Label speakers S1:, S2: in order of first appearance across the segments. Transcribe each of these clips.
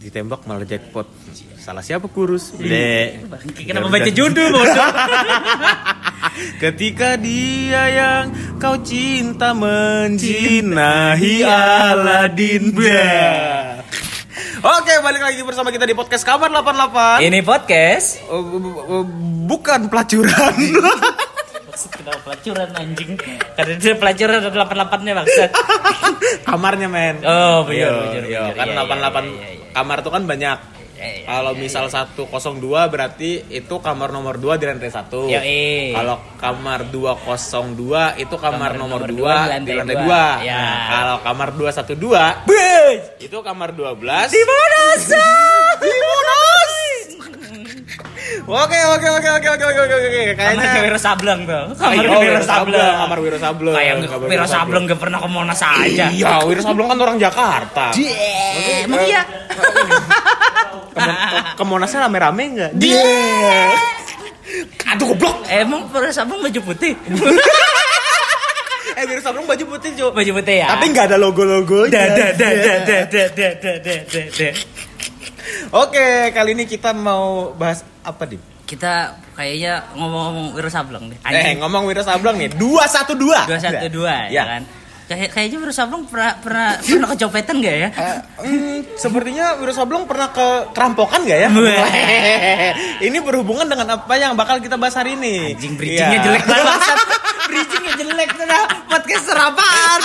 S1: ditembak malah jackpot. Salah siapa kurus?
S2: Bleh.
S1: Garuda.
S2: Iya. Kenapa baca judul bodoh?
S1: Ketika dia yang kau cinta menjinahi Aladin.
S2: Iya.
S1: Bleh. Oke, balik lagi bersama kita di podcast Kamar 88.
S2: Ini podcast.
S1: Eh, bu- bu- bu- Bukan pelacuran.
S2: Iya. Kenapa pelacuran anjing? Karena dia pelacuran ada 88-nya maksud.
S1: Kamarnya, men.
S2: Oh, bener, bener,
S1: Iya,
S2: bener.
S1: kan
S2: Iya,
S1: 88
S2: iya, iya,
S1: kamar tuh kan banyak.
S2: Iya, iya,
S1: Kalau misal 102 berarti itu kamar nomor 2 di lantai 1.
S2: Yoi.
S1: Kalau kamar 202 itu kamar,
S2: Kamar
S1: nomor
S2: nomor
S1: 2
S2: dua di
S1: di
S2: lantai
S1: lantai
S2: dua.
S1: 2.
S2: Ya.
S1: kalau kamar 212
S2: Bej.
S1: itu kamar 12.
S2: Di mana sah?
S1: Oke, oke, oke, oke, oke, oke, oke, oke.
S2: Kamar
S1: Kayaknya
S2: Wiro Sableng tuh. Kamar
S1: Oh,
S2: Wiro
S1: Wiro
S2: Sableng.
S1: Kamar Wiro Sableng.
S2: Kayak
S1: Kamar
S2: Wiro Sableng gak pernah ke Monas aja.
S1: Iya, Wiro Sableng kan orang Jakarta. eh,
S2: Emang iya.
S1: Ke Monasnya rame-rame enggak? Aduh goblok.
S2: Emang Wiro Sableng baju putih.
S1: Eh, Wiro Sableng baju putih, Jo.
S2: Baju putih ya.
S1: Tapi Iya. nggak ada logo-logonya.
S2: da da da da da da da da da da da.
S1: Oke, kali ini kita mau bahas apa nih?
S2: Kita kayaknya ngomong-ngomong Wiro Sableng deh.
S1: Eh,
S2: Anjing.
S1: ngomong Wiro Sableng nih, 212.
S2: dua satu dua ya kan Kayak, kayaknya Wiro Sableng pernah pernah pernah kecopetan gak ya
S1: Eh, hmm, sepertinya Wiro Sableng pernah ke kerampokan gak ya?
S2: Weh.
S1: ini berhubungan dengan apa yang bakal kita bahas hari ini.
S2: anjing bridgingnya
S1: Iya.
S2: jelek banget bangsat. bridgingnya jelek dah podcaster apaan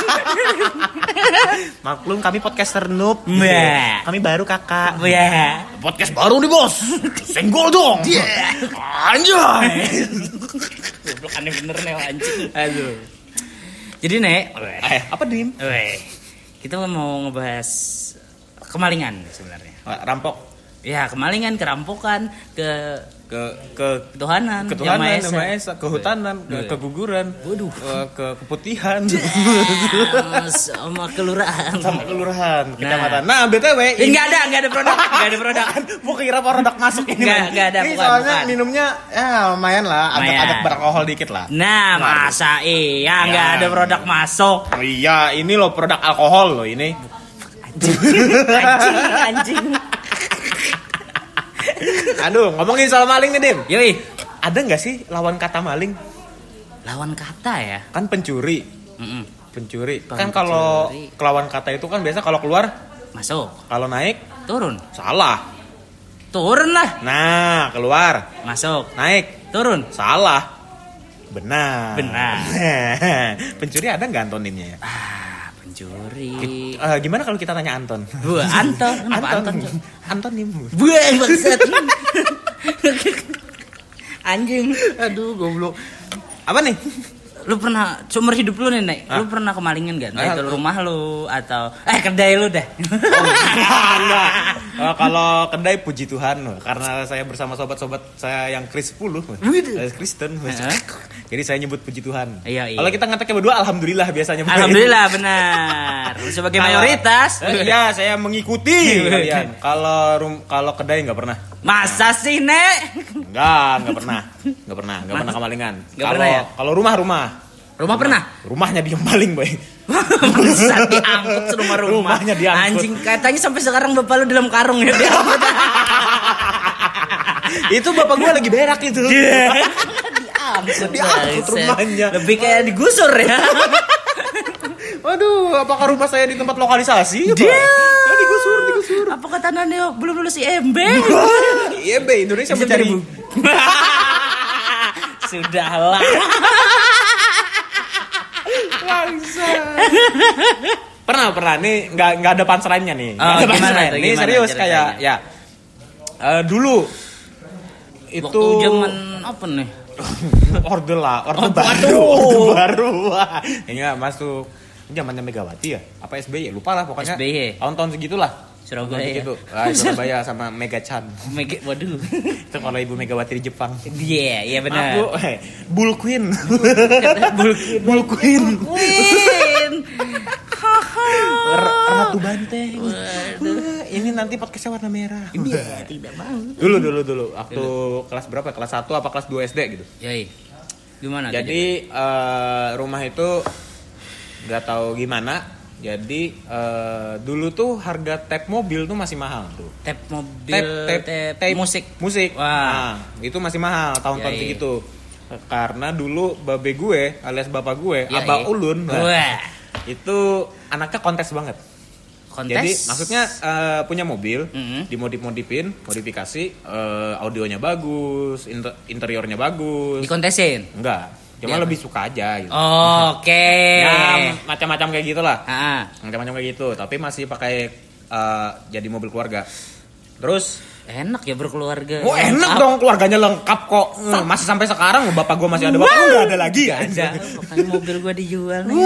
S1: Maklum kami podcaster noob. Iya.
S2: Weh.
S1: Kami baru kakak.
S2: ya
S1: Podcast baru nih bos. Senggol dong.
S2: Iya.
S1: Anjay.
S2: goblok aneh bener nih anjing aduh jadi nek weh,
S1: Eh, apa Dim?
S2: weh, kita mau ngebahas kemalingan sebenarnya
S1: Rampok
S2: ya kemalingan kerampokan ke
S1: ke ke
S2: ketuhanan
S1: ketuhanan,
S2: Hmm. Yang Iya.
S1: Yang Maha Esa, kehutanan, ke, keguguran,
S2: Waduh.
S1: eh, ke keputihan,
S2: Eh, sama kelurahan
S1: sama kelurahan, kecamatan. Nah,
S2: Nah.
S1: BTW
S2: Eh, nggak ada nggak ada produk nggak ada produk
S1: Mau kira produk masuk ini.
S2: Nggak,
S1: Man.
S2: nggak ada,
S1: Ini
S2: bukan,
S1: soalnya
S2: bukan.
S1: minumnya ya lumayan lah, agak-agak
S2: Lumayan.
S1: beralkohol dikit lah.
S2: Nah, masa iya nggak
S1: Ya.
S2: ada produk masuk.
S1: Oh, iya, ini loh produk alkohol loh ini.
S2: Anjing, anjing.
S1: Aduh, ngomongin soal maling nih, Dim.
S2: Yoi,
S1: Ada nggak sih lawan kata maling?
S2: lawan kata ya.
S1: Kan pencuri,
S2: Mm-mm.
S1: pencuri. Kan kalau
S2: Pencuri.
S1: lawan kata itu kan biasa kalau keluar,
S2: Masuk,
S1: kalau naik
S2: turun.
S1: salah.
S2: Turun lah.
S1: Nah, keluar.
S2: Masuk,
S1: Naik.
S2: turun.
S1: Salah. Benar.
S2: Benar.
S1: Pencuri ada nggak Antoninnya ya?
S2: Ah, pencuri.
S1: Eh, gimana kalau kita tanya Anton?
S2: Buah, Anton. Kenapa Iya. Anton? Cok?
S1: Antonim.
S2: Buah, bangsat. anjing.
S1: Aduh, goblok. Apa nih?
S2: Lu pernah sumber hidup lu nih, Nek. Lu pernah kemalingin gak? Nah,
S1: Ah. Oh,
S2: itu rumah lu atau eh kedai lu dah.
S1: Enggak. Eh, kalau kedai puji Tuhan loh, karena saya bersama sobat-sobat saya yang Kris 10 eh, Kristen
S2: Heeh.
S1: jadi saya nyebut puji Tuhan
S2: Gitu. Iya, iya.
S1: kalau kita ngeteknya berdua alhamdulillah biasanya
S2: Alhamdulillah benar. Lu Sebagai
S1: Kalau-
S2: mayoritas.
S1: Eh, iya saya mengikuti kalian kalau rum- kalau kedai nggak pernah
S2: Masa sih, Nek?
S1: Enggak, enggak pernah. Enggak pernah, enggak pernah kemalingan.
S2: Nggak
S1: Kalau
S2: pernah ya?
S1: kalau rumah rumah.
S2: Rumah pernah?
S1: Rumahnya dia maling, Boy.
S2: Bangsat diangkut rumah rumah.
S1: Rumahnya diangkut.
S2: Anjing katanya sampai sekarang bapak lu dalam karung ya diangkut. Ah.
S1: itu bapak gua lagi berak itu.
S2: Iya. diangkut,
S1: Diangkut
S2: bangsat.
S1: rumahnya.
S2: Lebih kayak digusur ya.
S1: Waduh, apakah rumah saya di tempat lokalisasi?
S2: Dia.
S1: Ya, digusur, digusur.
S2: Apa kata Nanda belum lulus IMB?
S1: Iya, Be, Indonesia
S2: Bisa
S1: mencari
S2: beribu. Sudahlah.
S1: bangsa. pernah, pernah. Nih enggak enggak ada panserannya nih. Nggak
S2: Oh,
S1: ada
S2: gimana
S1: panserannya.
S2: tuh,
S1: Ini
S2: gimana
S1: serius
S2: ceritanya?
S1: kayak ya. Eh, dulu itu
S2: Waktu zaman apa nih?
S1: Orde lah, orde
S2: Oh,
S1: baru,
S2: waduh.
S1: orde baru. Wah, Ingat masuk zamannya Megawati ya? Apa SBY? Lupa lah pokoknya.
S2: SBY.
S1: Tahun-tahun segitulah.
S2: Surabaya.
S1: Tahun segitu. Ah, Surabaya sama Mega Chan.
S2: Mega waduh.
S1: Itu kalau Ibu Megawati di Jepang.
S2: Iya, iya
S1: Maaf,
S2: benar.
S1: Bu. Eh, Bull Queen.
S2: Bull
S1: Bull Queen.
S2: Win.
S1: R- Ratu Banteng. Wah, ini nanti podcastnya warna merah.
S2: Iya, tidak mau.
S1: Dulu dulu dulu waktu kelas berapa? Kelas 1 apa kelas 2 SD gitu.
S2: Yoi. Gimana? gitu ya?
S1: Jadi eh, rumah itu nggak tahu gimana Jadi eh, dulu tuh harga tap mobil tuh masih mahal tuh.
S2: Tap mobil,
S1: Tap, tap,
S2: tap
S1: tap
S2: musik.
S1: musik.
S2: Wah. Iya,
S1: Nah, itu masih mahal tahun-tahun
S2: Yai.
S1: segitu. Karena dulu babe gue alias bapak gue,
S2: Iya,
S1: Abah
S2: iya.
S1: Ulun, nah,
S2: Wah.
S1: itu anaknya kontes banget.
S2: Kontes.
S1: Jadi maksudnya eh, punya mobil,
S2: Mhm.
S1: dimodif-modifin, modifikasi, eh, audionya bagus, inter- interiornya bagus.
S2: dikontesin.
S1: Enggak, cuma
S2: Iya.
S1: lebih suka aja gitu.
S2: Oke.
S1: Ya, macam-macam kayak gitulah.
S2: Ah,
S1: Macam-macam kayak gitu, tapi masih pakai eh, jadi mobil keluarga. Terus,
S2: enak ya berkeluarga.
S1: oh enak dong keluarganya lengkap kok. Hmm, Masih sampai sekarang loh, bapak gua masih ada, bapak lu nggak ada lagi ya.
S2: Makanya mobil gua dijual nih.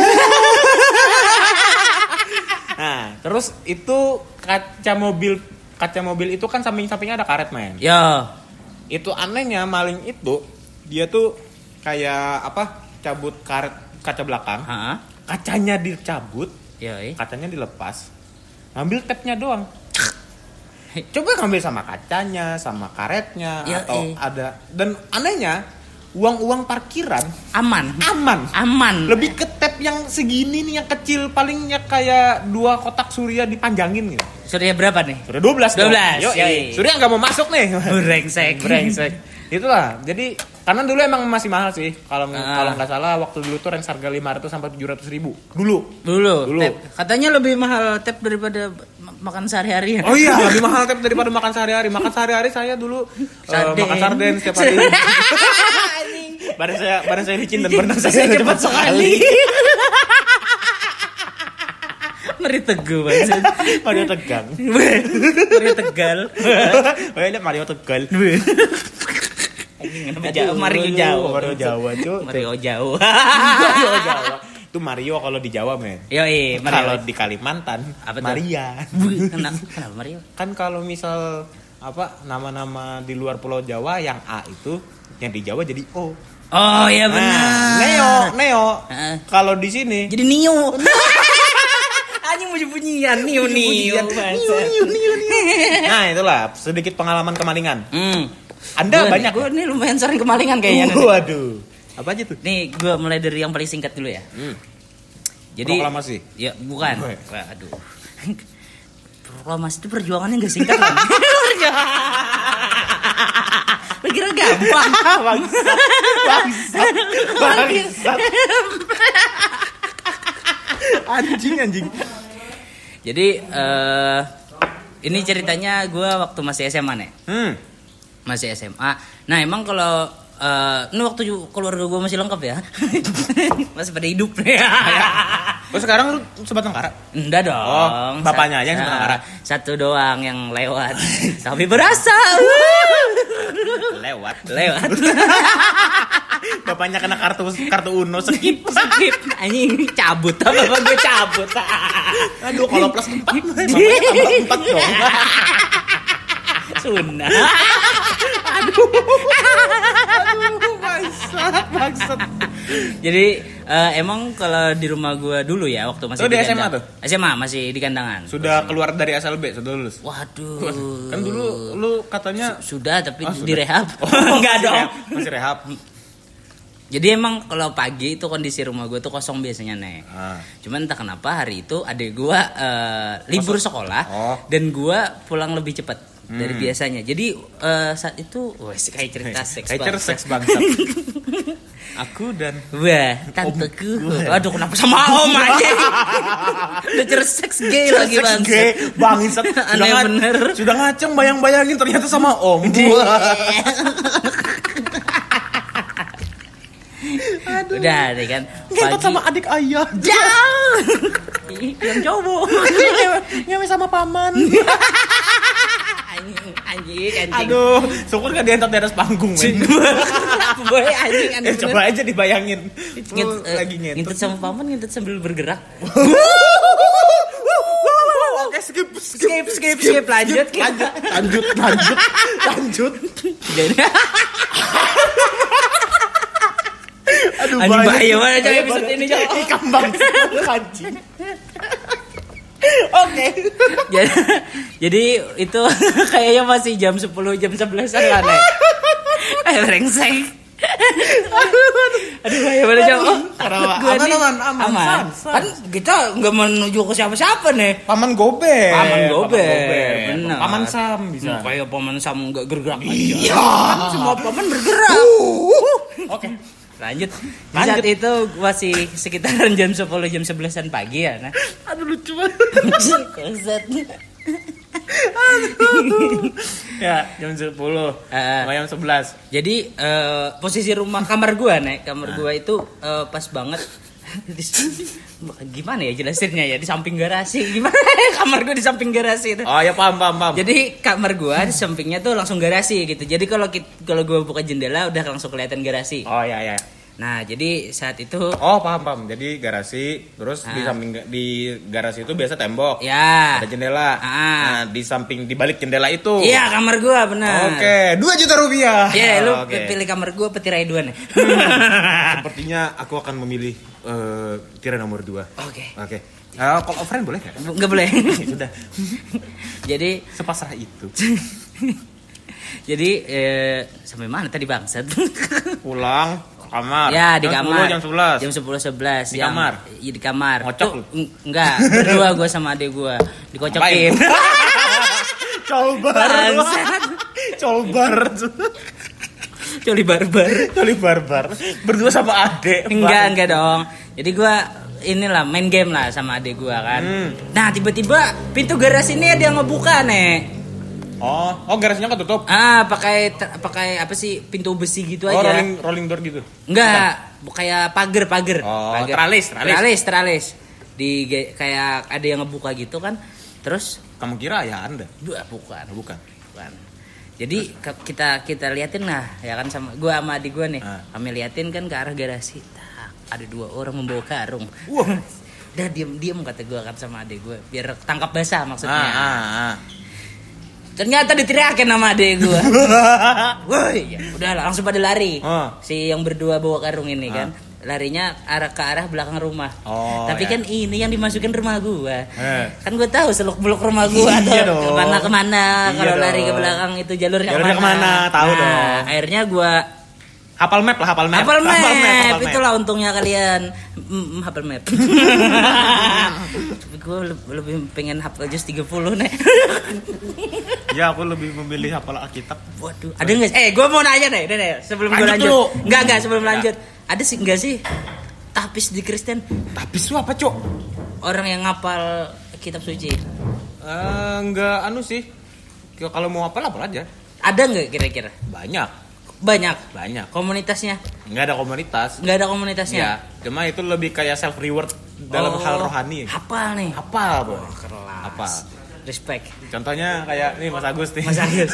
S1: Nah, terus itu kaca mobil kaca mobil itu kan samping-sampingnya ada karet, men.
S2: Yo.
S1: itu anehnya maling itu dia tuh kayak apa cabut karet kaca belakang
S2: Heeh.
S1: kacanya dicabut
S2: Yoi.
S1: kacanya dilepas ngambil tapnya doang coba ngambil sama kacanya sama karetnya
S2: Yoi.
S1: atau ada dan anehnya uang-uang parkiran
S2: Aman.
S1: aman
S2: Aman.
S1: lebih ke tap yang segini nih yang kecil palingnya kayak dua kotak surya dipanjangin gitu
S2: Surya ya berapa nih?
S1: Surya 12 dong. Yoi.
S2: 12, yoi.
S1: Surya nggak mau masuk nih
S2: Brengsek.
S1: brengsek itulah jadi karena dulu emang masih mahal sih kalau
S2: Ah.
S1: kalau nggak salah waktu dulu tuh range harga 500 sampai 700 ribu dulu
S2: Dulu,
S1: Dulu.
S2: tap. katanya lebih mahal tap daripada ma- makan sehari-hari. ya?
S1: oh iya lebih mahal tapi daripada makan sehari-hari makan sehari-hari saya dulu eh,
S2: Sarden.
S1: makan sarden setiap hari badan saya badan saya licin dan berenang saya cepat sekali
S2: Meri teguh banget.
S1: Mario tegang
S2: Meri tegal.
S1: oh iya lihat Mario tegal
S2: Kenapa jauh? Mari jauh.
S1: Mario Jawa cuy
S2: Mario jauh.
S1: Mario Jawa itu Mario kalau di Jawa men
S2: Yoi,
S1: kalau
S2: Mario.
S1: di Kalimantan
S2: Apa tuh?
S1: Maria
S2: Kenapa, kenapa Mario?
S1: kan kalau misal apa nama-nama di luar Pulau Jawa yang A itu yang di Jawa jadi O. Nah,
S2: Oh iya benar.
S1: Neo, Neo.
S2: Heeh.
S1: Kalau di sini
S2: Jadi Nio. Anjing mau bunyian Nio Nio.
S1: Bunyi-bunyian. Niu, niu, niu. Nah, itulah sedikit pengalaman kemalingan.
S2: Hmm.
S1: Anda banyak
S2: Gue nih lumayan sering kemalingan kayaknya. nih.
S1: Waduh. Apa aja tuh?
S2: Nih gue mulai dari yang paling singkat dulu ya.
S1: Hmm.
S2: Jadi
S1: Proklamasi.
S2: Ya bukan.
S1: Bukan.
S2: Wah, aduh. Proklamasi itu perjuangannya nggak singkat kan? Lu kira gampang?
S1: Bangsat. Bangsat. Bangsat. Anjing anjing.
S2: Jadi eh ini ceritanya gue waktu masih SMA nih.
S1: Hmm.
S2: masih SMA. Nah emang kalau eh, ini waktu ju- keluarga gue masih lengkap ya, masih pada hidup nih.
S1: Oh, sekarang lu sebatang kara?
S2: Enggak dong.
S1: Oh, bapaknya aja yang
S2: Sat-
S1: sebatang kara.
S2: Satu doang yang lewat, tapi berasa
S1: Lewat.
S2: lewat.
S1: Bapaknya kena kartu kartu Uno skip.
S2: Skip, anjing cabut apa apa gue cabut.
S1: Aduh, kalau plus 4 Bapaknya tambah 4 dong.
S2: Sunnah.
S1: Aduh, bangsat, bangsat.
S2: Jadi eh, emang kalau di rumah gue dulu ya waktu masih
S1: Lu Oh, di
S2: kandang-
S1: SMA tuh?
S2: SMA masih di kandangan.
S1: Sudah keluar dari SLB, sudah lulus.
S2: Waduh.
S1: Kan dulu lu katanya
S2: sudah tapi
S1: Oh, sudah.
S2: direhab.
S1: Masih
S2: Enggak dong.
S1: rehab, Masih rehab.
S2: Jadi emang kalau pagi itu kondisi rumah gue tuh kosong biasanya nih.
S1: Ah.
S2: Cuman entah kenapa hari itu adik gue eh, libur sekolah
S1: Oh. Hmm.
S2: dan gue pulang lebih cepat dari biasanya. Jadi eh, saat itu wes kayak cerita seks.
S1: Kayak
S2: banget.
S1: seks bangsat. Aku dan
S2: Wah, tanteku.
S1: Oh
S2: Aduh, kenapa sama om aja? Udah cer seks gay lagi
S1: Seks
S2: bang.
S1: gay, bangsat. Sudah
S2: Aneh
S1: nga-
S2: bener.
S1: Sudah ngaceng bayang-bayangin ternyata sama om.
S2: Udah deh kan.
S1: Ngikut sama adik ayah.
S2: jauh. Yang jauh bu.
S1: Nyewe sama paman.
S2: Anjing, anjing, anjing.
S1: Aduh, syukur gak diantar di atas panggung. men.
S2: Boy, anjing,
S1: Eh,
S2: anjing. bener.
S1: coba aja dibayangin.
S2: Ngit,
S1: Lu
S2: eh,
S1: lagi
S2: ngintip
S1: ngintip.
S2: sama paman ngintip sambil bergerak.
S1: Oke, skip, skip.
S2: Skip, skip, skip, lanjut.
S1: Lanjut, lanjut, lanjut, lanjut.
S2: Jadi,
S1: Aduh,
S2: Aduh,
S1: banyak.
S2: bahaya banget, coy,
S1: Bahaya
S2: episode
S1: banget.
S2: ini, coy.
S1: Ih, kambang. Lu anjing. Oke.
S2: jadi, jadi itu kayaknya masih jam 10 jam 11 an lah nih. Eh, brengsek. Aduh, gimana jawab?
S1: Kenapa?
S2: Gua
S1: Aman,
S2: nih-
S1: aman, aman. San, san.
S2: Kan kita nggak menuju ke siapa-siapa nih.
S1: Eh, Paman Gober.
S2: Paman Gober, benar.
S1: Paman Sam bisa.
S2: Hmm, kayak paman sam nggak gergerak aja.
S1: Iya.
S2: Kan semua paman bergerak.
S1: Oke.
S2: Lanjut. Di
S1: Lanjut.
S2: saat itu masih sekitaran jam 10 jam 11-an pagi ya, nah.
S1: Aduh lucu banget.
S2: Konsep.
S1: ya, jam 10.
S2: Eh.
S1: Sama jam 11.
S2: Jadi eh, posisi rumah kamar gua nih,
S1: Nah.
S2: kamar gua itu eh, pas banget Di- gimana ya jelasinnya ya di samping garasi gimana ya kamar gua di samping garasi itu
S1: Oh ya paham paham paham.
S2: Jadi kamar gua di sampingnya tuh langsung garasi gitu. Jadi kalau kit- kalau gua buka jendela udah langsung kelihatan garasi.
S1: Oh ya ya.
S2: Nah, jadi saat itu
S1: Oh paham paham. Jadi garasi terus di
S2: Ah.
S1: samping di garasi itu biasa tembok.
S2: ya.
S1: Ada jendela.
S2: Ah.
S1: Nah, di samping di balik jendela itu.
S2: Iya, kamar gua benar.
S1: Oke, 2 juta rupiah.
S2: Ya, lu
S1: Oke.
S2: pilih kamar gua apa tirai dua nih.
S1: Hmm. Sepertinya aku akan memilih eh, tirai nomor 2.
S2: Oke.
S1: Oke. Eh, call a friend boleh nggak?
S2: Enggak boleh.
S1: Ya Sudah.
S2: jadi
S1: Sepasrah itu.
S2: jadi eh, sampai mana tadi bangsat?
S1: Pulang ke kamar.
S2: ya di
S1: Jam
S2: kamar
S1: 10, jam 11.
S2: jam
S1: Di
S2: 10 11 yang-
S1: kamar?
S2: iya di kamar
S1: Ngocok
S2: Tuh,
S1: lu?
S2: eng- enggak berdua gua sama adik gua dikocokin
S1: Ngapain? Colbar.
S2: Bangsat.
S1: Colbar.
S2: coli barbar
S1: Coli barbar. Berdua sama adek.
S2: Enggak, enggak dong. Jadi gua inilah main game lah sama adik gua kan.
S1: Hmm.
S2: Nah, tiba-tiba pintu garasi ini ada yang ngebuka, Nek.
S1: Oh, oh garasinya ketutup.
S2: Ah, pakai ter- pakai apa sih? Pintu besi
S1: Oh,
S2: gitu aja.
S1: rolling rolling door gitu.
S2: Enggak, bu- kayak pagar, pagar.
S1: Oh,
S2: Pagar.
S1: teralis, teralis.
S2: Teralis, teralis. Di ge- kayak ada yang ngebuka gitu kan. Terus
S1: Kamu kira ya Anda?
S2: dua bukan,
S1: Nah, bukan.
S2: bukan. Jadi ke- kita kita liatin lah ya kan sama gua sama adik gua nih.
S1: Ah.
S2: Kami liatin kan ke arah garasi. Tak, ada dua orang membawa karung.
S1: Wah.
S2: udah diem diem kata gue kan sama adik gue biar tangkap
S1: Ah,
S2: basah maksudnya
S1: ah, ah.
S2: ternyata diteriakin sama adik gue woi ya udah lah, langsung pada lari
S1: Ah.
S2: si yang berdua bawa karung ini
S1: Ah.
S2: kan larinya arah ke arah belakang rumah
S1: Oh,
S2: tapi
S1: ya.
S2: kan ini yang dimasukin rumah gue
S1: Eh.
S2: kan gue tahu seluk beluk rumah gue
S1: Iya
S2: atau
S1: dong.
S2: kemana kemana
S1: Iya
S2: kalau lari ke
S1: dong.
S2: belakang itu jalurnya,
S1: Jalurnya kemana, tahu
S2: Nah,
S1: dong.
S2: akhirnya gue
S1: Hafal map lah, hafal map.
S2: Apple Map,
S1: Hafal hafal
S2: itulah untungnya kalian Mm, mm, Apple Map gue lebih pengen hafal just 30 nih
S1: Ya, aku lebih memilih hafal Alkitab.
S2: waduh ada nggak sih- eh gue mau nanya deh deh, deh, sebelum gue
S1: Lanjut
S2: lanjut
S1: dulu.
S2: nggak nggak sebelum
S1: Nggak.
S2: lanjut ada sih nggak sih tapis di Kristen
S1: Tapi lu apa, Cok?
S2: orang yang ngapal kitab suci
S1: Eh, enggak anu sih. Kalau mau hafal hafal aja.
S2: ada nggak kira-kira
S1: Banyak,
S2: banyak
S1: banyak.
S2: komunitasnya
S1: Enggak ada komunitas.
S2: nggak ada komunitasnya
S1: Ya, cuma itu lebih kayak self reward dalam
S2: Oh,
S1: hal rohani.
S2: hafal nih
S1: Apa, Boy?
S2: kelas
S1: Apa?
S2: respect
S1: Contohnya kayak nih Mas Agus nih.
S2: Mas Agus.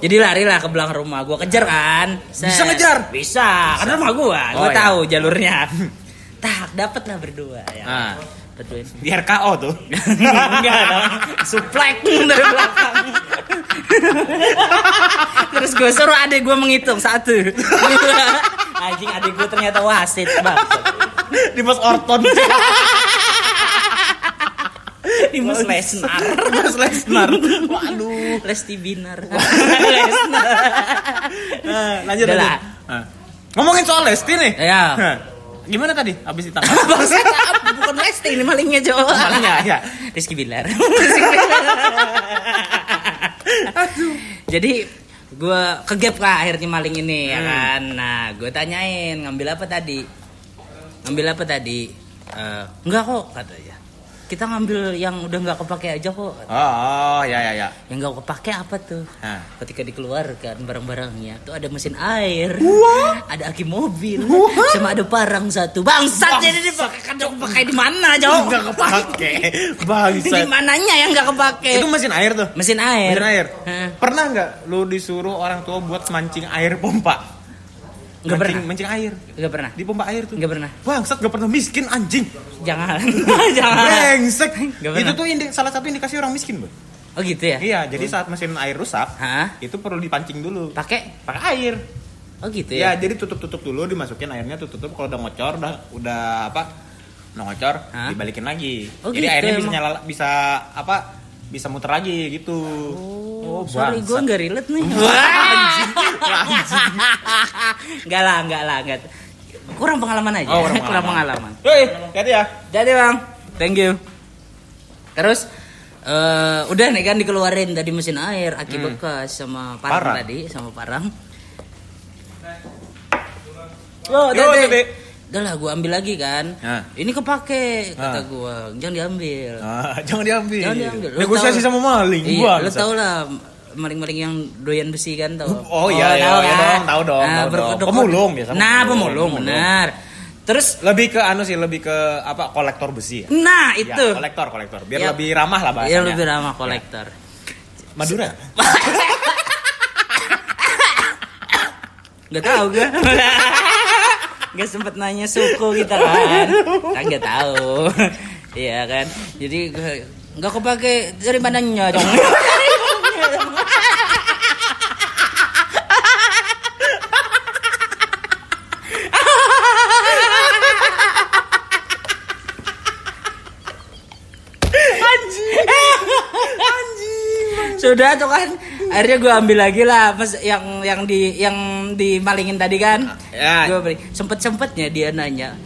S2: Jadi lari lah ke belakang rumah gua kejar kan.
S1: Bisa ngejar?
S2: Bisa, karena rumah gua, gua
S1: Oh, iya.
S2: tahu jalurnya. Tak, dapat lah berdua ya.
S1: Ah.
S2: Betuin.
S1: Di RKO tuh.
S2: Enggak dong. Suplek dari belakang. Terus gue suruh adik gue menghitung satu. Dua. Anjing adik gue ternyata wasit banget.
S1: Di Mas Orton.
S2: Dimas Lesnar.
S1: Mas Lesnar. Waduh.
S2: Lesti Binar. Lesnar.
S1: Eh, lanjut
S2: Udah
S1: lanjut.
S2: lah.
S1: Eh. Ngomongin soal Lesti nih.
S2: Iya.
S1: Eh, Gimana tadi? Habis ditangkap.
S2: Bangsa bukan Lesti ini malingnya Jo.
S1: Malingnya, ya.
S2: Rizky Bilar. Rizky Bilar. Jadi gue kegep lah akhirnya maling ini ya
S1: Hmm.
S2: kan. Nah gue tanyain ngambil apa tadi? Ngambil apa tadi? Eh, enggak kok katanya. Kita ngambil yang udah nggak kepake aja kok.
S1: Oh, oh, ya ya Nah. ya.
S2: Yang nggak kepake apa tuh?
S1: Hah.
S2: Ketika dikeluarkan barang-barangnya tuh ada mesin air,
S1: Wah.
S2: ada aki mobil,
S1: Wah.
S2: sama ada parang satu. Bangsat
S1: Bangsat.
S2: jadi dipakai kan nggak kepake di mana jauh?
S1: Enggak kepake.
S2: Di
S1: Bangsat.
S2: mananya yang nggak kepake?
S1: Itu mesin air tuh.
S2: mesin air.
S1: Mesin air.
S2: Hah.
S1: Pernah nggak lu disuruh orang tua buat mancing air pompa?
S2: Nggak
S1: mancing,
S2: pernah.
S1: Mancing air.
S2: Nggak pernah.
S1: Di pompa air tuh.
S2: Nggak pernah.
S1: Bangsat nggak pernah miskin anjing.
S2: Jangan. Jangan.
S1: Brengsek.
S2: Ya. Nggak
S1: Itu
S2: pernah.
S1: tuh indi- salah satu indikasi orang miskin, Bro.
S2: Oh gitu ya.
S1: Iya, jadi saat mesin air rusak,
S2: Hah?
S1: itu perlu dipancing dulu.
S2: Pakai?
S1: Pakai air.
S2: Oh gitu
S1: Ya,
S2: ya.
S1: jadi tutup-tutup dulu, dimasukin airnya tutup-tutup. Kalau udah ngocor, udah udah apa? Udah ngocor,
S2: Hah?
S1: dibalikin lagi.
S2: Oh,
S1: jadi
S2: gitu
S1: airnya bisa
S2: emang.
S1: nyala, bisa apa? Bisa muter lagi gitu.
S2: Oh.
S1: Oh,
S2: sorry gue
S1: bangsat.
S2: nggak relate nih nggak lah nggak lah nggak kurang pengalaman aja
S1: Oh, kurang pengalaman.
S2: kurang pengalaman
S1: Hei, hati ya.
S2: jadi bang, thank you. Terus eh, udah nih kan dikeluarin tadi mesin air, aki bekas sama parang,
S1: Hmm. Parang.
S2: tadi, sama parang.
S1: Yo,
S2: Yo,
S1: Dede.
S2: Dede. Udah lah, gua ambil lagi kan.
S1: Nah.
S2: Ini kepake kata
S1: Nah.
S2: gua, jangan diambil.
S1: Ah, jangan diambil.
S2: Jangan diambil. Lu
S1: Negosiasi
S2: tahu-
S1: sama maling.
S2: Iya,
S1: bangsat.
S2: lu tau lah maling-maling yang doyan besi kan tau.
S1: Oh, iya, iya,
S2: tahu
S1: iya
S2: kan?
S1: dong, tahu dong, tahu
S2: berkedok-
S1: dong. Pemulung biasa,
S2: Nah,
S1: pemulung,
S2: pemulung,
S1: pemulung.
S2: benar. Terus
S1: Lebih ke anu sih, lebih ke apa? Kolektor besi ya.
S2: nah
S1: Ya,
S2: itu.
S1: kolektor, kolektor. Biar
S2: Ya.
S1: lebih ramah lah bahasanya.
S2: Iya lebih ramah kolektor.
S1: Madura.
S2: Gak tahu gue. Gak sempet nanya suku kita kan. Kan gak tahu. Iya kan. Jadi gue nggak kepake dari mananya dong. Sudah tuh kan. Akhirnya gue ambil lagi lah mas yang yang di yang dimalingin tadi kan.
S1: Ya.
S2: Gue beli. Sempet sempetnya dia nanya.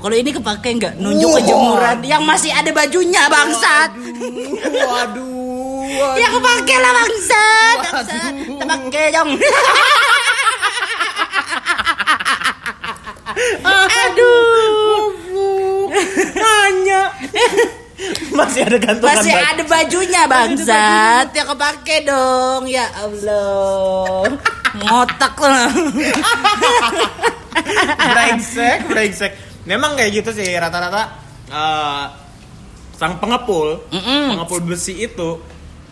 S2: Kalau ini kepake nggak nunjuk ke jemuran yang masih ada bajunya bangsat.
S1: Waduh, waduh.
S2: Ya
S1: waduh.
S2: kepake lah bangsat. Bangsat.
S1: Waduh.
S2: Kepake dong.
S1: Aduh. Nanya. Masih ada gantungan.
S2: Masih
S1: baju.
S2: ada bajunya bangsat. Ya kepake dong. Ya Allah. Ngotak lah.
S1: brengsek, brengsek. Memang kayak gitu sih rata-rata eh, sang pengepul,
S2: Mm-mm.
S1: pengepul besi itu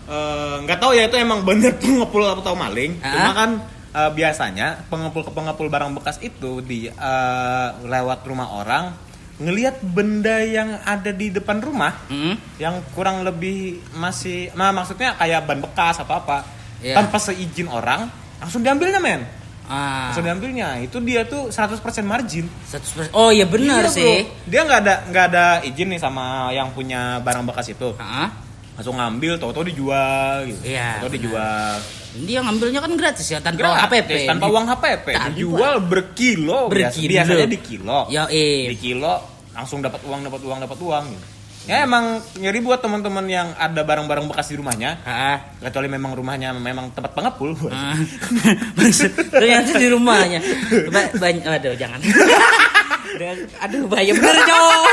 S1: eh, nggak tahu ya itu emang bener pengepul atau maling.
S2: Ah.
S1: Cuma kan eh, biasanya pengepul ke pengepul barang bekas itu di eh, lewat rumah orang ngelihat benda yang ada di depan rumah
S2: Hmm?
S1: yang kurang lebih masih nah, maksudnya kayak ban bekas apa apa
S2: Iya.
S1: tanpa seizin orang langsung diambilnya men
S2: Ah,
S1: langsung diambilnya itu dia tuh 100% margin
S2: 100%. Oh iya
S1: Iya,
S2: benar
S1: bro.
S2: sih.
S1: Dia nggak ada nggak ada izin nih sama yang punya barang bekas itu.
S2: Heeh.
S1: Langsung ngambil, tau-tau dijual gitu.
S2: Iya,
S1: Tau-tau
S2: benar.
S1: dijual.
S2: Dia ngambilnya kan gratis ya tanpa HPP.
S1: Gratis, Tanpa uang HPP.
S2: Tanpa.
S1: Dijual berkilo. biasa-
S2: Nah, Berkilo.
S1: Biasanya di kilo.
S2: Ya eh.
S1: Di kilo langsung dapat uang, dapat uang, dapat uang. Gitu. Ya emang nyeri buat teman-teman yang ada barang-barang bekas di rumahnya.
S2: Heeh.
S1: Kecuali memang rumahnya memang tempat pengepul.
S2: Ah. Maksud, ternyata di rumahnya ba banyak aduh jangan Dan- aduh bahaya bener dong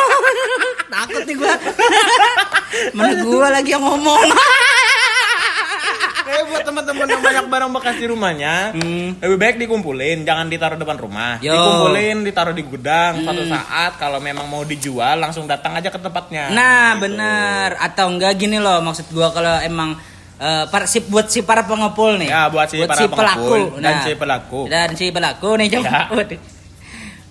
S2: takut nih gua mana gua lagi yang ngomong
S1: Kayak Eh, buat teman-teman yang banyak barang bekas di rumahnya, lebih baik dikumpulin, jangan ditaruh depan rumah.
S2: Hmm. Yo. Hmm.
S1: Dikumpulin, ditaruh di gudang. Suatu saat kalau memang mau dijual, langsung datang aja ke tempatnya. Ya,
S2: nah bener atau enggak gini loh maksud gua kalau emang eh, para si buat si para pengepul nih
S1: Ya, buat si para pengepul
S2: pelaku Nah,
S1: dan si pelaku.
S2: dan si pelaku nih coba
S1: Ya.
S2: Waduh.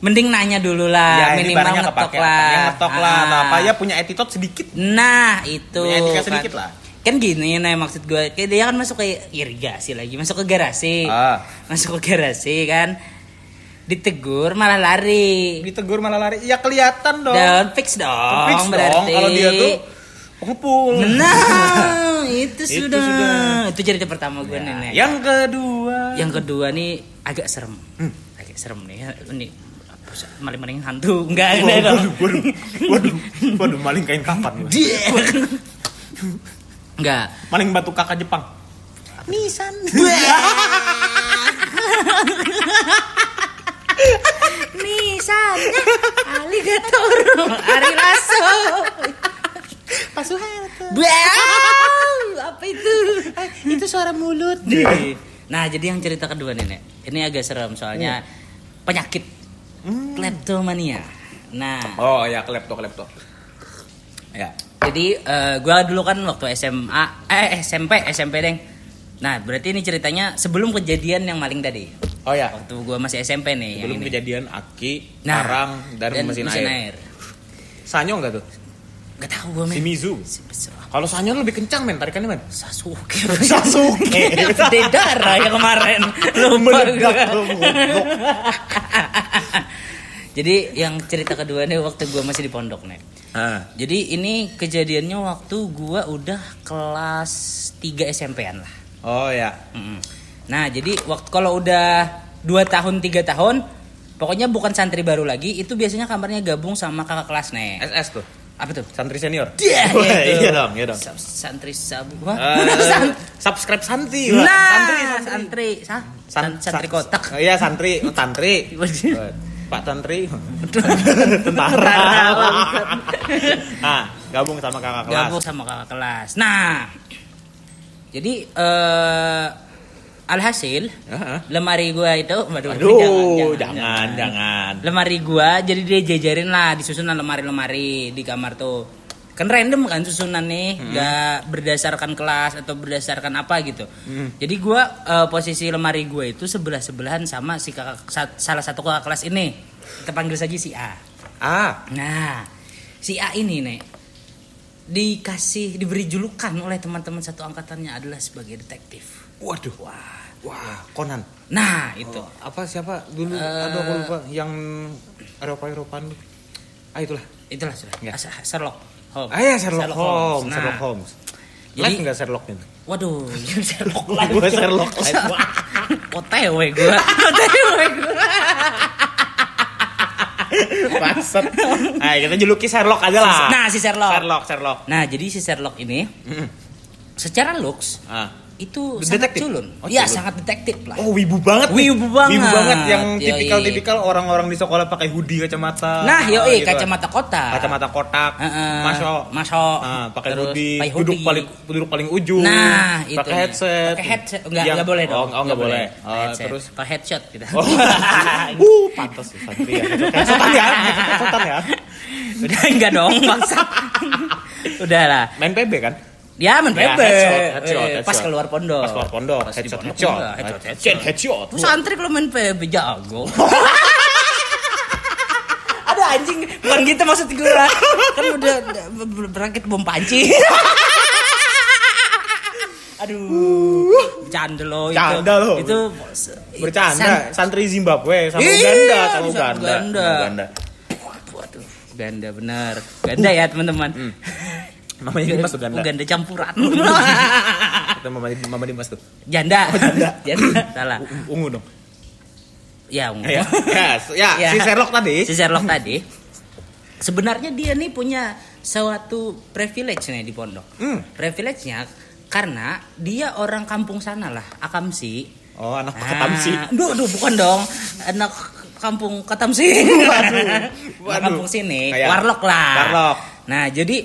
S2: mending nanya dulu lah
S1: ya, ini
S2: minimal
S1: barangnya
S2: ngetok
S1: kepake.
S2: lah
S1: Ya, ngetok lah.
S2: Ah.
S1: atau apa ya punya attitude sedikit.
S2: Nah itu
S1: Punya etika
S2: kan.
S1: sedikit lah.
S2: Kan gini nah maksud gue kayak dia kan masuk ke irigasi lagi Masuk ke garasi
S1: Ah.
S2: Masuk ke garasi kan Ditegur malah lari
S1: Ditegur malah lari. Ya kelihatan dong.
S2: Dan fix dong
S1: Gitu. Fix dong
S2: berarti
S1: kalau dia tuh pengepul.
S2: Nah itu,
S1: Itu
S2: sudah.
S1: sudah. Ya,
S2: Itu cerita pertama gue nih Nek.
S1: Yang kedua.
S2: Yang kedua nih agak serem
S1: Hmm.
S2: Agak serem nih Ini maling-maling hantu Enggak enggak
S1: waduh,
S2: dong.
S1: waduh, waduh, waduh, maling kain kapan? gua.
S2: Dia. Enggak
S1: Maling batu kakak Jepang. Nisan.
S2: Nisan Aligator Ari Lasso
S1: Pasuhan. Eh,
S2: Wow, Apa itu
S1: itu suara mulut
S2: Nah jadi yang cerita kedua nenek Ini agak serem soalnya Penyakit
S1: Hmm.
S2: Kleptomania Nah
S1: oh ya klepto klepto ya
S2: jadi eh, gua dulu kan waktu SMA Eh SMP SMP deng Nah berarti ini ceritanya sebelum kejadian yang maling tadi
S1: oh ya
S2: Waktu gua masih SMP nih yang
S1: belum
S2: ini.
S1: kejadian aki
S2: Nah,
S1: parang Iya, dan, mesin, air. Nah. sanyo nggak tuh
S2: Gak tau gue
S1: si
S2: men
S1: mizu kalau sanyo lebih kencang men tarikannya men
S2: Sasuke
S1: Sasuke.
S2: Gede darah ya kemarin Lupa
S1: Meledak
S2: gua.
S1: dong, goblok.
S2: Jadi yang cerita kedua nih waktu gue masih di pondok nih
S1: ah
S2: Jadi ini kejadiannya waktu gue udah kelas 3 SMP-an lah
S1: Oh ya.
S2: Mm-mm. Nah, jadi waktu kalau udah 2 tahun, 3 tahun, pokoknya bukan santri baru lagi, itu biasanya kamarnya gabung sama kakak kelas nih.
S1: SS tuh.
S2: Apa tuh?
S1: Santri senior.
S2: Dia
S1: Wah, Iya dong, iya dong.
S2: Santri sabu. Wah.
S1: Eh,
S2: Sant-
S1: subscribe santri lah.
S2: Nah,
S1: santri, santri.
S2: santri, Sa-
S1: San-
S2: san- santri
S1: san-
S2: kotak.
S1: Oh, Iya, santri, Oh, tantri. Eh, Pak Tantri. Tentara. nah, gabung sama kakak kelas.
S2: gabung sama kakak kelas. Nah, jadi eh alhasil
S1: Heeh.
S2: lemari gua itu, waduh,
S1: Aduh, jangan, jangan.
S2: Lemari gua jadi dia jajarin lah disusunan lemari-lemari di kamar tuh. Kan random kan susunan nih, nggak berdasarkan kelas atau berdasarkan apa gitu.
S1: Mm.
S2: Jadi gua eh, posisi lemari gua itu sebelah-sebelahan sama si kakak sa- salah satu kakak kelas ini. Kita panggil saja si A.
S1: Ah,
S2: Nah, si A ini nek dikasih diberi julukan oleh teman-teman satu angkatannya adalah sebagai detektif.
S1: waduh. Wah, wah, Conan.
S2: Nah, itu.
S1: Oh, apa siapa dulu? Aduh, aku lupa yang Eropa-Eropaan. dulu. Ah, itulah.
S2: Itulah sudah.
S1: Ya.
S2: As- Sherlock Holmes.
S1: Ah, ya Sherlock, Holmes,
S2: Nah,
S1: Sherlock Holmes.
S2: Jadi-
S1: Live nggak Sherlock ini?
S2: Waduh, Sherlock live.
S1: Gua Sherlock live.
S2: OTW gua. OTW gua.
S1: Pasat. Nah, kita juluki Sherlock aja lah.
S2: Nah, si Sherlock.
S1: Ah. Sherlock, Sherlock.
S2: Nah, jadi si Sherlock ini
S1: Mm.
S2: secara looks
S1: Ah.
S2: itu
S1: Detektif?
S2: sangat culun.
S1: Oh,
S2: Iya,
S1: culun.
S2: sangat detektif lah.
S1: Oh, wibu banget. nih.
S2: Wibu banget.
S1: Wibu banget yang
S2: Yoi.
S1: tipikal-tipikal orang-orang di sekolah pakai hoodie, kacamata.
S2: Nah,
S1: Ah,
S2: yoi
S1: gitu.
S2: kacamata kotak.
S1: kacamata kotak,
S2: Heeh.
S1: masuk,
S2: Masuk.
S1: Ah, pakai
S2: Terus
S1: hoodie,
S2: pakai
S1: duduk
S2: hoodie.
S1: paling duduk paling ujung.
S2: Nah, itu.
S1: Pakai headset.
S2: Pakai headset. Enggak,
S1: Yang-
S2: enggak boleh dong.
S1: Oh, oh enggak boleh.
S2: Pakai
S1: Ah,
S2: headset.
S1: terus
S2: pakai headshot gitu.
S1: Oh, uh, pantas tuh santri ya. Kesotan ya, kesotan ya.
S2: Udah enggak dong, bangsa. Udahlah.
S1: Main PB kan?
S2: Ya, men
S1: Ya, headshot,
S2: bebe.
S1: headshot,
S2: Eh,
S1: headshot.
S2: Pas keluar pondok.
S1: Pas keluar pondok,
S2: Pas di
S1: headshot,
S2: pondok
S1: headshot,
S2: juga, headshot,
S1: headshot,
S2: headshot.
S1: headshot.
S2: Lu santri kalau main PB jago. Ada anjing, bukan gitu maksud gue lah. Kan udah udah ber- berakit bom panci. Aduh, bercanda lo Uh. itu.
S1: Bercanda lo.
S2: Itu
S1: Bercanda, santri Zimbabwe sama
S2: Iya,
S1: Uganda, sama
S2: sama
S1: Uganda.
S2: Uganda.
S1: sama Uganda.
S2: Waduh, Ganda bener. Ganda ya teman-teman.
S1: Hmm. Mamanya Dimas tuh Ganda.
S2: Uganda campuran.
S1: Itu mama, mama Dimas tuh.
S2: Janda.
S1: Oh,
S2: Janda. Salah.
S1: U- Ungu dong.
S2: Ya, ungu.
S1: Ah. Ya, ya, ya,
S2: Ya.
S1: si Sherlock tadi.
S2: si Sherlock tadi sebenarnya dia nih punya suatu privilege nih di pondok
S1: Hmm.
S2: privilege-nya karena dia orang kampung sana lah Akamsi
S1: Oh, anak
S2: Ah,
S1: Ketamsi.
S2: duh, duh, bukan dong anak kampung Ketamsi
S1: Waduh,
S2: Anak
S1: waduh.
S2: kampung sini
S1: Kayak-
S2: warlock lah
S1: Warlock.
S2: nah jadi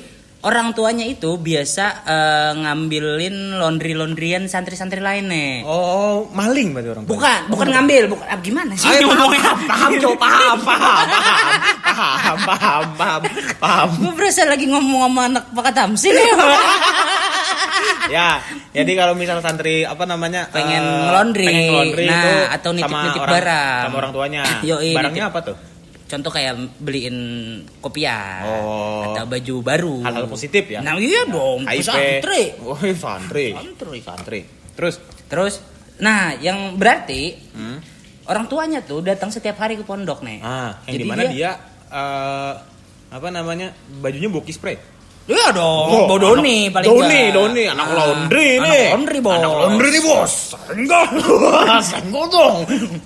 S2: orang tuanya itu biasa eh, ngambilin laundry laundryan santri-santri lain nih
S1: Oh, maling berarti orang.
S2: Bukan, bukan ngambil, bukan ah, gimana sih?
S1: Ayo
S2: ngomongnya?
S1: paham, paham, coba paham, paham, paham, paham, paham, paham.
S2: Gue berasa lagi ngomong sama anak Pak Tamsin ya.
S1: Ya, jadi kalau misal santri apa namanya eh,
S2: Pengen ngelondri.
S1: pengen ngelondri
S2: Nah,
S1: itu
S2: atau nitip-nitip
S1: sama orang-
S2: barang.
S1: sama orang tuanya.
S2: Yoi,
S1: Barangnya
S2: nitip.
S1: apa tuh?
S2: Contoh kayak beliin kopiah
S1: Oh.
S2: atau baju baru.
S1: Hal-hal positif ya?
S2: Nah iya dong,
S1: KIP.
S2: santri.
S1: Oh, santri.
S2: Santri.
S1: Santri. Terus,
S2: Terus, nah yang berarti
S1: Hmm.
S2: orang tuanya tuh datang setiap hari ke pondok nih.
S1: ah, yang
S2: Jadi
S1: dimana dia, eh, apa namanya bajunya buki spray.
S2: Iya
S1: Oh,
S2: dong, Bawa Doni
S1: anak-
S2: paling
S1: Doni,
S2: nggak.
S1: Doni, anak
S2: Ah,
S1: laundry
S2: anak
S1: nih.
S2: laundry, bos.
S1: Anak laundry nih, bos. Senggol. Senggol dong.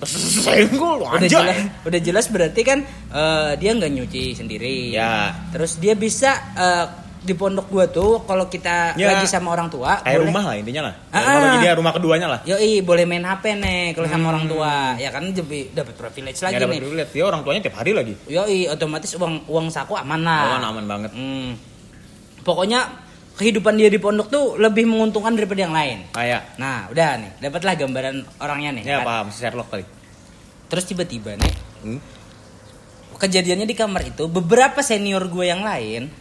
S1: Senggol,
S2: udah
S1: anjay.
S2: jelas udah jelas berarti kan eh, dia nggak nyuci sendiri
S1: Ya.
S2: terus dia bisa eh, di pondok gua tuh kalau kita
S1: Ya.
S2: lagi sama orang tua
S1: Kayak
S2: boleh
S1: rumah lah intinya lah.
S2: Ah,
S1: Rumah bagi
S2: ah.
S1: dia rumah keduanya lah.
S2: Yoi, boleh main HP nih kalau sama orang tua. Ya kan jadi dapat privilege
S1: Hmm.
S2: lagi
S1: Nggak dapat
S2: nih.
S1: privilege. Dia orang tuanya tiap hari lagi.
S2: Yoi, otomatis uang uang saku aman lah.
S1: Oh, Aman aman banget.
S2: Hmm. Pokoknya kehidupan dia di pondok tuh lebih menguntungkan daripada yang lain.
S1: Kayak.
S2: Nah, udah nih, dapatlah gambaran orangnya
S1: Ya
S2: nih. kan.
S1: paham si Sherlock tadi.
S2: Terus tiba-tiba nih
S1: Hmm?
S2: kejadiannya di kamar itu beberapa senior gue yang lain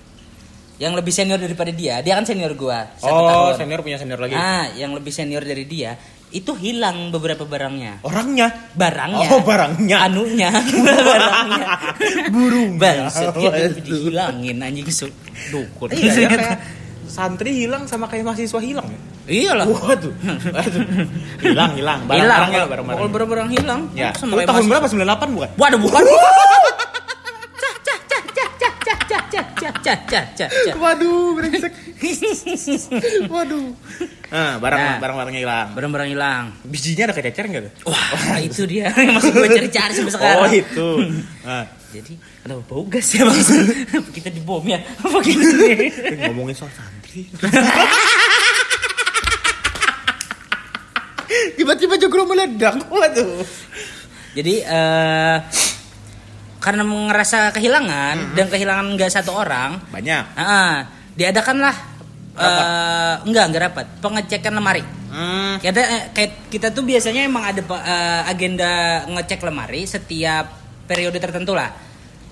S2: yang lebih senior daripada dia dia kan senior gue satu
S1: Oh,
S2: tahun
S1: senior punya senior lagi.
S2: ah yang lebih senior dari dia itu hilang beberapa barangnya
S1: Orangnya.
S2: barangnya
S1: Oh, barangnya.
S2: anunya barangnya
S1: Burung.
S2: bangsat dia di- dihilangin anjing su- dukun
S1: Oh, Iya, ya, kayak santri hilang sama kayak mahasiswa hilang ya.
S2: iyalah Hmm.
S1: Waduh. Waduh. Hilang, hilang.
S2: hilang
S1: Barang-barangnya,
S2: kalau
S1: barang-barangnya.
S2: barang-barang hilang
S1: Ya.
S2: sama
S1: Lu
S2: kayak
S1: tahun
S2: mas-
S1: berapa? 98 bukan?
S2: waduh bukan cah cah cah cah cah cah cah cah cah cah cah cah, cah, cah, cah.
S1: Waduh, brengsek. Waduh. Nah, barang
S2: Nah.
S1: barang-barangnya hilang.
S2: Barang-barang hilang.
S1: Bijinya ada kececer enggak tuh?
S2: Wah, itu dia yang masih gue cari-cari sampai sekarang.
S1: Oh, itu. Nah,
S2: Jadi, kenapa bau gas ya bang? Apa kita di bom ya? Apa gitu nih?
S1: ngomongin soal santri. Tiba-tiba jogro meledak. Waduh.
S2: Jadi, eh karena ngerasa kehilangan dan kehilangan nggak satu orang,
S1: Banyak.
S2: ah, diadakanlah eh enggak enggak rapat pengecekan lemari.
S1: Hmm.
S2: Kita eh, kayak kita tuh biasanya emang ada eh, agenda ngecek lemari setiap periode tertentu lah.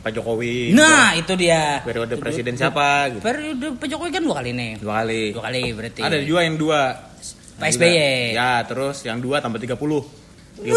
S1: Pak Jokowi.
S2: Nah, itu dia.
S1: Periode
S2: Itu-
S1: presiden siapa gitu.
S2: Periode Pak Jokowi kan dua kali nih.
S1: Dua kali.
S2: Dua kali berarti.
S1: Ada juga yang dua.
S2: Pak SBY.
S1: Ya, terus yang dua tambah 30. 30 tahun.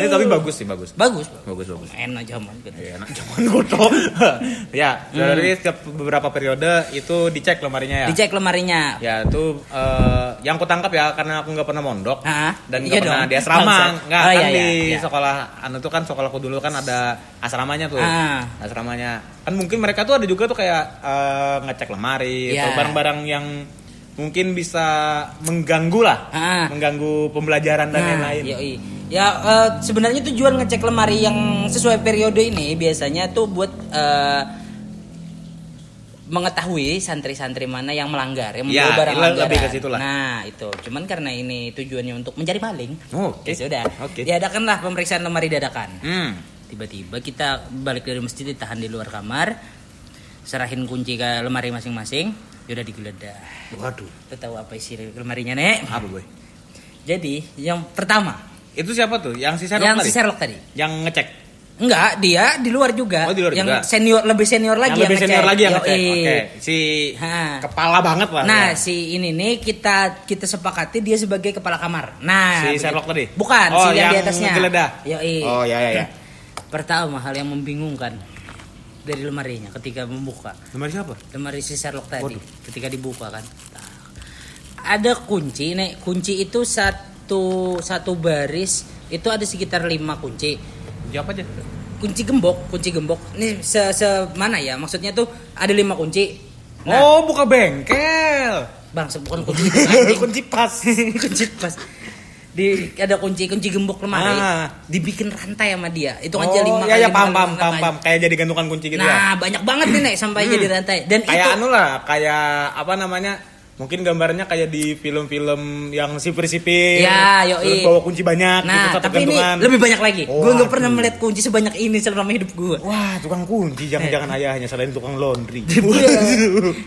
S1: Ini tapi bagus sih, bagus.
S2: Bagus.
S1: Bagus, bagus.
S2: Enak zaman gitu.
S1: Ya, enak zaman kotor. ya, dari setiap beberapa periode itu dicek lemarinya ya.
S2: Hmm. Dicek lemarinya.
S1: Ya, itu eh, yang aku tangkap ya karena aku nggak pernah mondok.
S2: Hah?
S1: Dan nggak
S2: Iya
S1: pernah
S2: dong.
S1: di asrama,
S2: Bangsat.
S1: nggak
S2: Oh,
S1: kan
S2: iya,
S1: di
S2: iya, iya.
S1: sekolah anu tuh kan sekolahku dulu kan ada asramanya tuh,
S2: Ah.
S1: asramanya kan mungkin mereka tuh ada juga tuh kayak eh, ngecek lemari
S2: Iya.
S1: atau barang-barang yang mungkin bisa mengganggu lah,
S2: Ah.
S1: mengganggu pembelajaran dan
S2: Nah,
S1: lain-lain.
S2: yoi. Ya eh, sebenarnya tujuan ngecek lemari yang sesuai periode ini biasanya tuh buat eh, mengetahui santri-santri mana yang melanggar, yang
S1: Ya,
S2: membawa barang
S1: le- lebih
S2: langgaran.
S1: ke situ lah.
S2: Nah, itu. Cuman karena ini tujuannya untuk mencari paling.
S1: Oh, oke.
S2: Ya sudah.
S1: Oke.
S2: Diadakanlah pemeriksaan lemari dadakan.
S1: Hmm.
S2: Tiba-tiba kita balik dari masjid ditahan di luar kamar, serahin kunci ke lemari masing-masing, yaudah digeledah.
S1: Waduh,
S2: Lu tahu apa isi lemarinya, Nek?
S1: apa boy?
S2: Jadi, yang pertama,
S1: Itu siapa tuh? Yang si Sherlock
S2: yang
S1: tadi?
S2: si Sherlock tadi.
S1: Yang ngecek.
S2: Enggak, dia di luar juga.
S1: Oh, di luar
S2: yang
S1: juga.
S2: senior lebih senior lagi
S1: yang lebih senior
S2: ngecek.
S1: lagi yang ngecek.
S2: Yoi.
S1: Oke, si
S2: Ha.
S1: kepala banget lah.
S2: Nah,
S1: ya.
S2: si ini nih kita kita sepakati dia sebagai kepala kamar. Nah,
S1: si
S2: begitu.
S1: Sherlock tadi.
S2: Bukan,
S1: oh,
S2: si yang,
S1: yang
S2: di atasnya.
S1: ngegeledah.
S2: Yoi. Nah,
S1: Oh, ya ya ya.
S2: Pertama hal yang membingungkan dari lemarinya ketika membuka.
S1: Nomor siapa?
S2: Lemari si Sherlock tadi ketika dibuka kan. tak. Ada kunci, Nek. Kunci itu satu satu baris itu ada sekitar lima kunci.
S1: Jawab aja.
S2: kunci gembok kunci gembok nih se, se- mana ya maksudnya tuh ada lima kunci nah
S1: Oh, buka bengkel.
S2: bang se- bukan kunci itu, anjing.
S1: Kunci pas.
S2: kunci pas di ada kunci kunci gembok lemari
S1: Ah.
S2: dibikin rantai sama dia itu
S1: Oh,
S2: aja lima
S1: ya
S2: kali,
S1: ya
S2: lima
S1: pam
S2: kali,
S1: pam
S2: lima
S1: pam
S2: kali.
S1: pam kayak jadi gantungan kunci gitu ya. Hmm.
S2: nah banyak banget nih nek sampai jadi rantai dan
S1: Kayak
S2: itu
S1: anu lah, kayak apa namanya? Mungkin gambarnya kayak di film-film yang sipir-sipir.
S2: Ya, yoi.
S1: Terus bawa kunci banyak
S2: nah
S1: gitu satu
S2: tapi
S1: gantungan.
S2: ini lebih banyak lagi
S1: Oh,
S2: gue nggak
S1: aduh.
S2: pernah melihat kunci sebanyak ini selama hidup gue
S1: Wah, tukang kunci jangan-jangan ayahnya selain tukang laundry.
S2: Eh. Iya.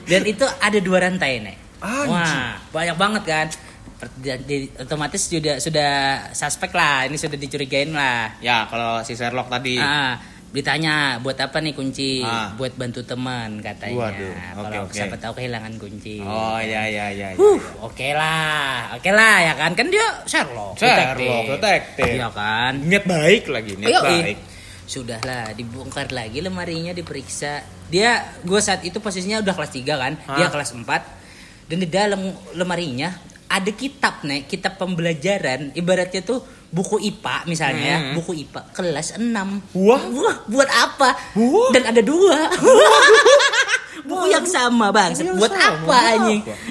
S2: Dan itu ada dua rantai nek.
S1: Anjing.
S2: Wah banyak banget kan. Per- dan di- otomatis sudah sudah suspek lah. Ini sudah dicurigain lah.
S1: ya, kalau si Sherlock tadi.
S2: Ah, ditanya buat apa nih kunci?
S1: Iya. Ah.
S2: Buat bantu teman katanya.
S1: Waduh, oke,
S2: Kalau
S1: oke.
S2: siapa tahu kehilangan kunci.
S1: Oh, ya ya ya. ya.
S2: Huh, oke lah, oke lah ya kan kan dia Sherlock,
S1: Sherlock,
S2: detektif.
S1: detektif.
S2: Iya kan.
S1: Niat baik lagi, niat
S2: Yoi.
S1: baik.
S2: eh. Sudahlah, dibongkar lagi lemarinya diperiksa. Dia gue saat itu posisinya udah kelas 3 kan, dia
S1: Hah?
S2: kelas 4. Dan di dalam lemarinya ada kitab nih, kitab pembelajaran ibaratnya tuh buku IPA misalnya, ya, buku IPA kelas 6.
S1: Mm-hmm. Wah.
S2: buat apa?
S1: Wah.
S2: Dan ada dua. buku yang sama, Bang.
S1: Buku yang
S2: Buat
S1: Iya, sama,
S2: apa
S1: buat
S2: anjing?
S1: apa?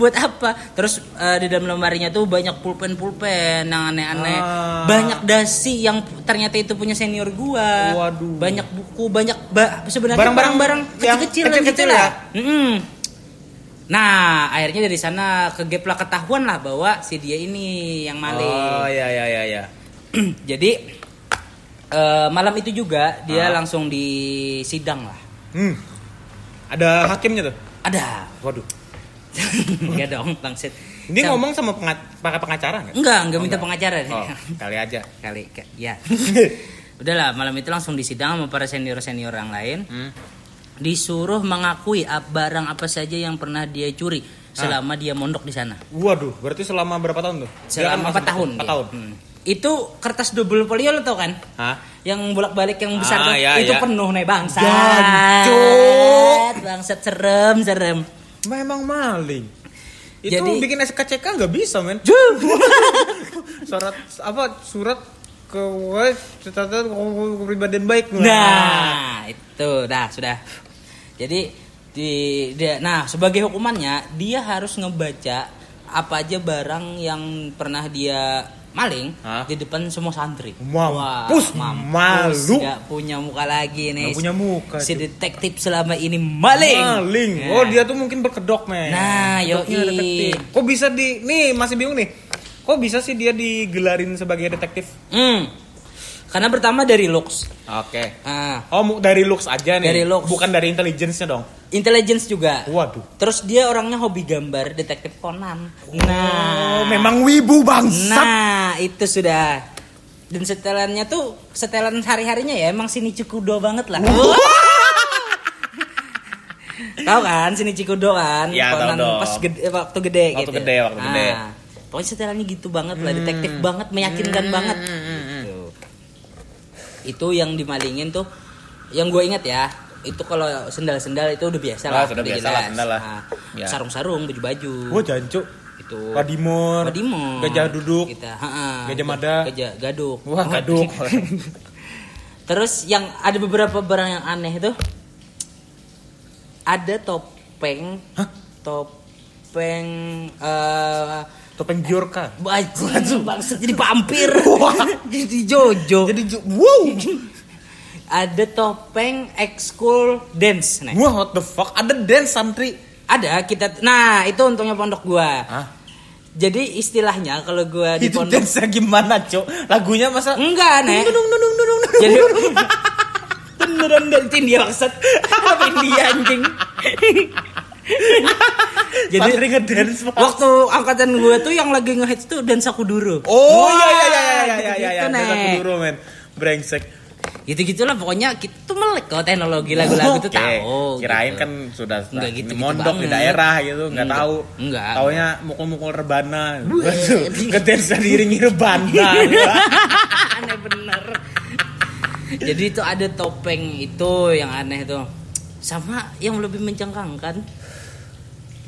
S2: Buat apa? Terus eh, di dalam lemarinya tuh banyak pulpen-pulpen yang aneh-aneh.
S1: Ah.
S2: Banyak dasi yang ternyata itu punya senior gua.
S1: Waduh.
S2: Banyak buku, banyak ba- sebenarnya
S1: Barang-barang
S2: barang-barang
S1: yang
S2: kecil-kecilan
S1: kecil-kecil ya?
S2: gitu lah. Mm-mm. Nah, akhirnya dari sana kegep lah ketahuan lah bahwa si dia ini yang
S1: Oh,
S2: maling.
S1: ya ya ya ya.
S2: Jadi eh, malam itu juga dia
S1: Ah.
S2: langsung disidang lah.
S1: Hmm. Ada hakimnya tuh.
S2: Ada.
S1: Waduh.
S2: Enggak dong, bangset.
S1: Dia
S2: Sam-
S1: ngomong sama pengat, pakai pengacara nggak?
S2: Enggak, enggak minta
S1: enggak.
S2: pengacara dia.
S1: Oh, kali aja.
S2: Kali ke- ya. Udahlah, malam itu langsung disidang sama para senior-senior yang lain.
S1: Hmm.
S2: disuruh mengakui ap- barang apa saja yang pernah dia curi
S1: Ah.
S2: selama dia mondok di sana.
S1: Waduh, berarti selama berapa tahun tuh? Dia kan
S2: Selama
S1: masuk-
S2: 4 tahun.
S1: Empat
S2: dia.
S1: tahun.
S2: Hmm. Itu kertas double folio lo tau kan?
S1: Hah?
S2: Yang bolak-balik yang besar
S1: Ah,
S2: tuh,
S1: ya,
S2: itu
S1: ya.
S2: penuh nih bangsat.
S1: Jancuk.
S2: Bangsat serem serem.
S1: Memang maling. Itu
S2: Jadi-
S1: bikin SKCK nggak bisa, men. Surat apa? Surat ke Nah, catatan kepribadian baik.
S2: Nah, itu dah Nah, sudah. Jadi di dia- nah sebagai hukumannya dia harus ngebaca apa aja barang yang pernah dia maling
S1: Hah?
S2: di depan semua santri.
S1: Mampus,
S2: mampus,
S1: malu.
S2: nggak punya muka lagi nih.
S1: Nggak punya muka,
S2: Si
S1: cuy.
S2: detektif selama ini maling.
S1: Maling.
S2: Ya.
S1: Oh, dia tuh mungkin berkedok, men.
S2: Nah,
S1: Kedoknya
S2: yoi.
S1: detektif. Kok bisa di Nih, masih bingung nih. Kok bisa sih dia digelarin sebagai detektif?
S2: Hmm. Karena pertama dari looks.
S1: Oke.
S2: Ah,
S1: Oh, mu- dari looks aja nih.
S2: Dari looks.
S1: Bukan dari intelligence-nya dong.
S2: intelligence juga.
S1: Waduh.
S2: Terus dia orangnya hobi gambar, detektif Conan. Nah,
S1: Oh, memang wibu bangsat.
S2: Nah, itu sudah. Dan setelannya tuh setelan hari-harinya ya emang sini Cikudo banget lah. tahu kan sini Cikudo kan?
S1: Ya, tahu
S2: Conan
S1: dong.
S2: pas gede, eh, waktu gede
S1: Waktu
S2: gitu.
S1: gede, waktu gede. Hmm.
S2: Pokoknya setelannya gitu banget lah, detektif banget, meyakinkan banget. Gitu. Itu yang dimalingin tuh yang gue ingat ya itu kalau sendal-sendal itu udah biasa
S1: Ah,
S2: lah,
S1: sudah
S2: udah
S1: biasa lah,
S2: jelas.
S1: sendal lah.
S2: Ah,
S1: Ya.
S2: sarung-sarung, baju-baju. gitu.
S1: Gua jancuk.
S2: Itu.
S1: Wadimor.
S2: Wadimor.
S1: Gajah duduk.
S2: Kita, ha-ha.
S1: Gajah mada.
S2: Gitu. Gajah gaduk.
S1: Wah, gaduk.
S2: iya. Terus yang ada beberapa barang yang aneh itu ada topeng.
S1: Hah?
S2: Topeng eh
S1: Topeng Giorka.
S2: baju bangsa jadi vampir. jadi Jojo.
S1: Jadi ju- wow.
S2: ada topeng ekskul dance nih.
S1: Wah, what the fuck? Ada dance santri.
S2: Ada kita nah itu untungnya pondok gua.
S1: Hah?
S2: Jadi istilahnya kalau gua Ah, di
S1: Itu
S2: pondok
S1: dance gimana, Cok? Lagunya masa
S2: Enggak, Nek.
S1: Nung, nung, nung, nung, nung, nung.
S2: Jadi beneran dari India maksud apa India anjing. Jadi
S1: santri ngedance Pak.
S2: waktu angkatan gue tuh yang lagi ngehits tuh dan Sakuduro.
S1: Oh
S2: Wah,
S1: iya iya iya iya iya iya iya.
S2: gitu-gitu,
S1: Desa
S2: Nek.
S1: Kuduro men. Brengsek.
S2: Gitu-gitulah pokoknya kita tuh melek kok teknologi lagu-lagu tuh
S1: Oke,
S2: tahu.
S1: Kirain
S2: gitu.
S1: kan sudah
S2: Nggak gitu-gitu
S1: mondok di
S2: banget.
S1: daerah gitu, nggak
S2: Nggak,
S1: tahu.
S2: nggak.
S1: Taunya mukul-mukul rebana. Waduh, Ngedance diiringi rebana.
S2: aneh bener jadi itu ada topeng itu yang aneh tuh sama yang lebih mencengkangkan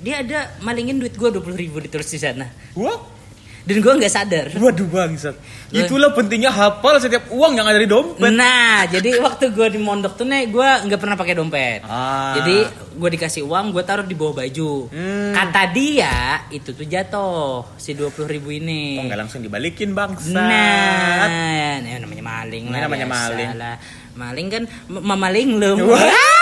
S2: dia ada malingin duit gue dua puluh ribu ditulis di sana
S1: Wah,
S2: dan gue nggak sadar
S1: waduh bangsat. Itulah pentingnya hafal setiap uang yang ada di dompet.
S2: nah jadi waktu gue di mondok tuh nih gue nggak pernah pakai dompet
S1: Ah.
S2: jadi gue dikasih uang gue taruh di bawah baju
S1: Hmm.
S2: kata dia itu tuh jatuh si dua puluh ribu ini
S1: Kok Oh, nggak langsung dibalikin bangsat.
S2: Nah, nah, namanya maling lah.
S1: Ini namanya
S2: biasa
S1: maling.
S2: lah. Maling kan m- memaling lu.
S1: Wah.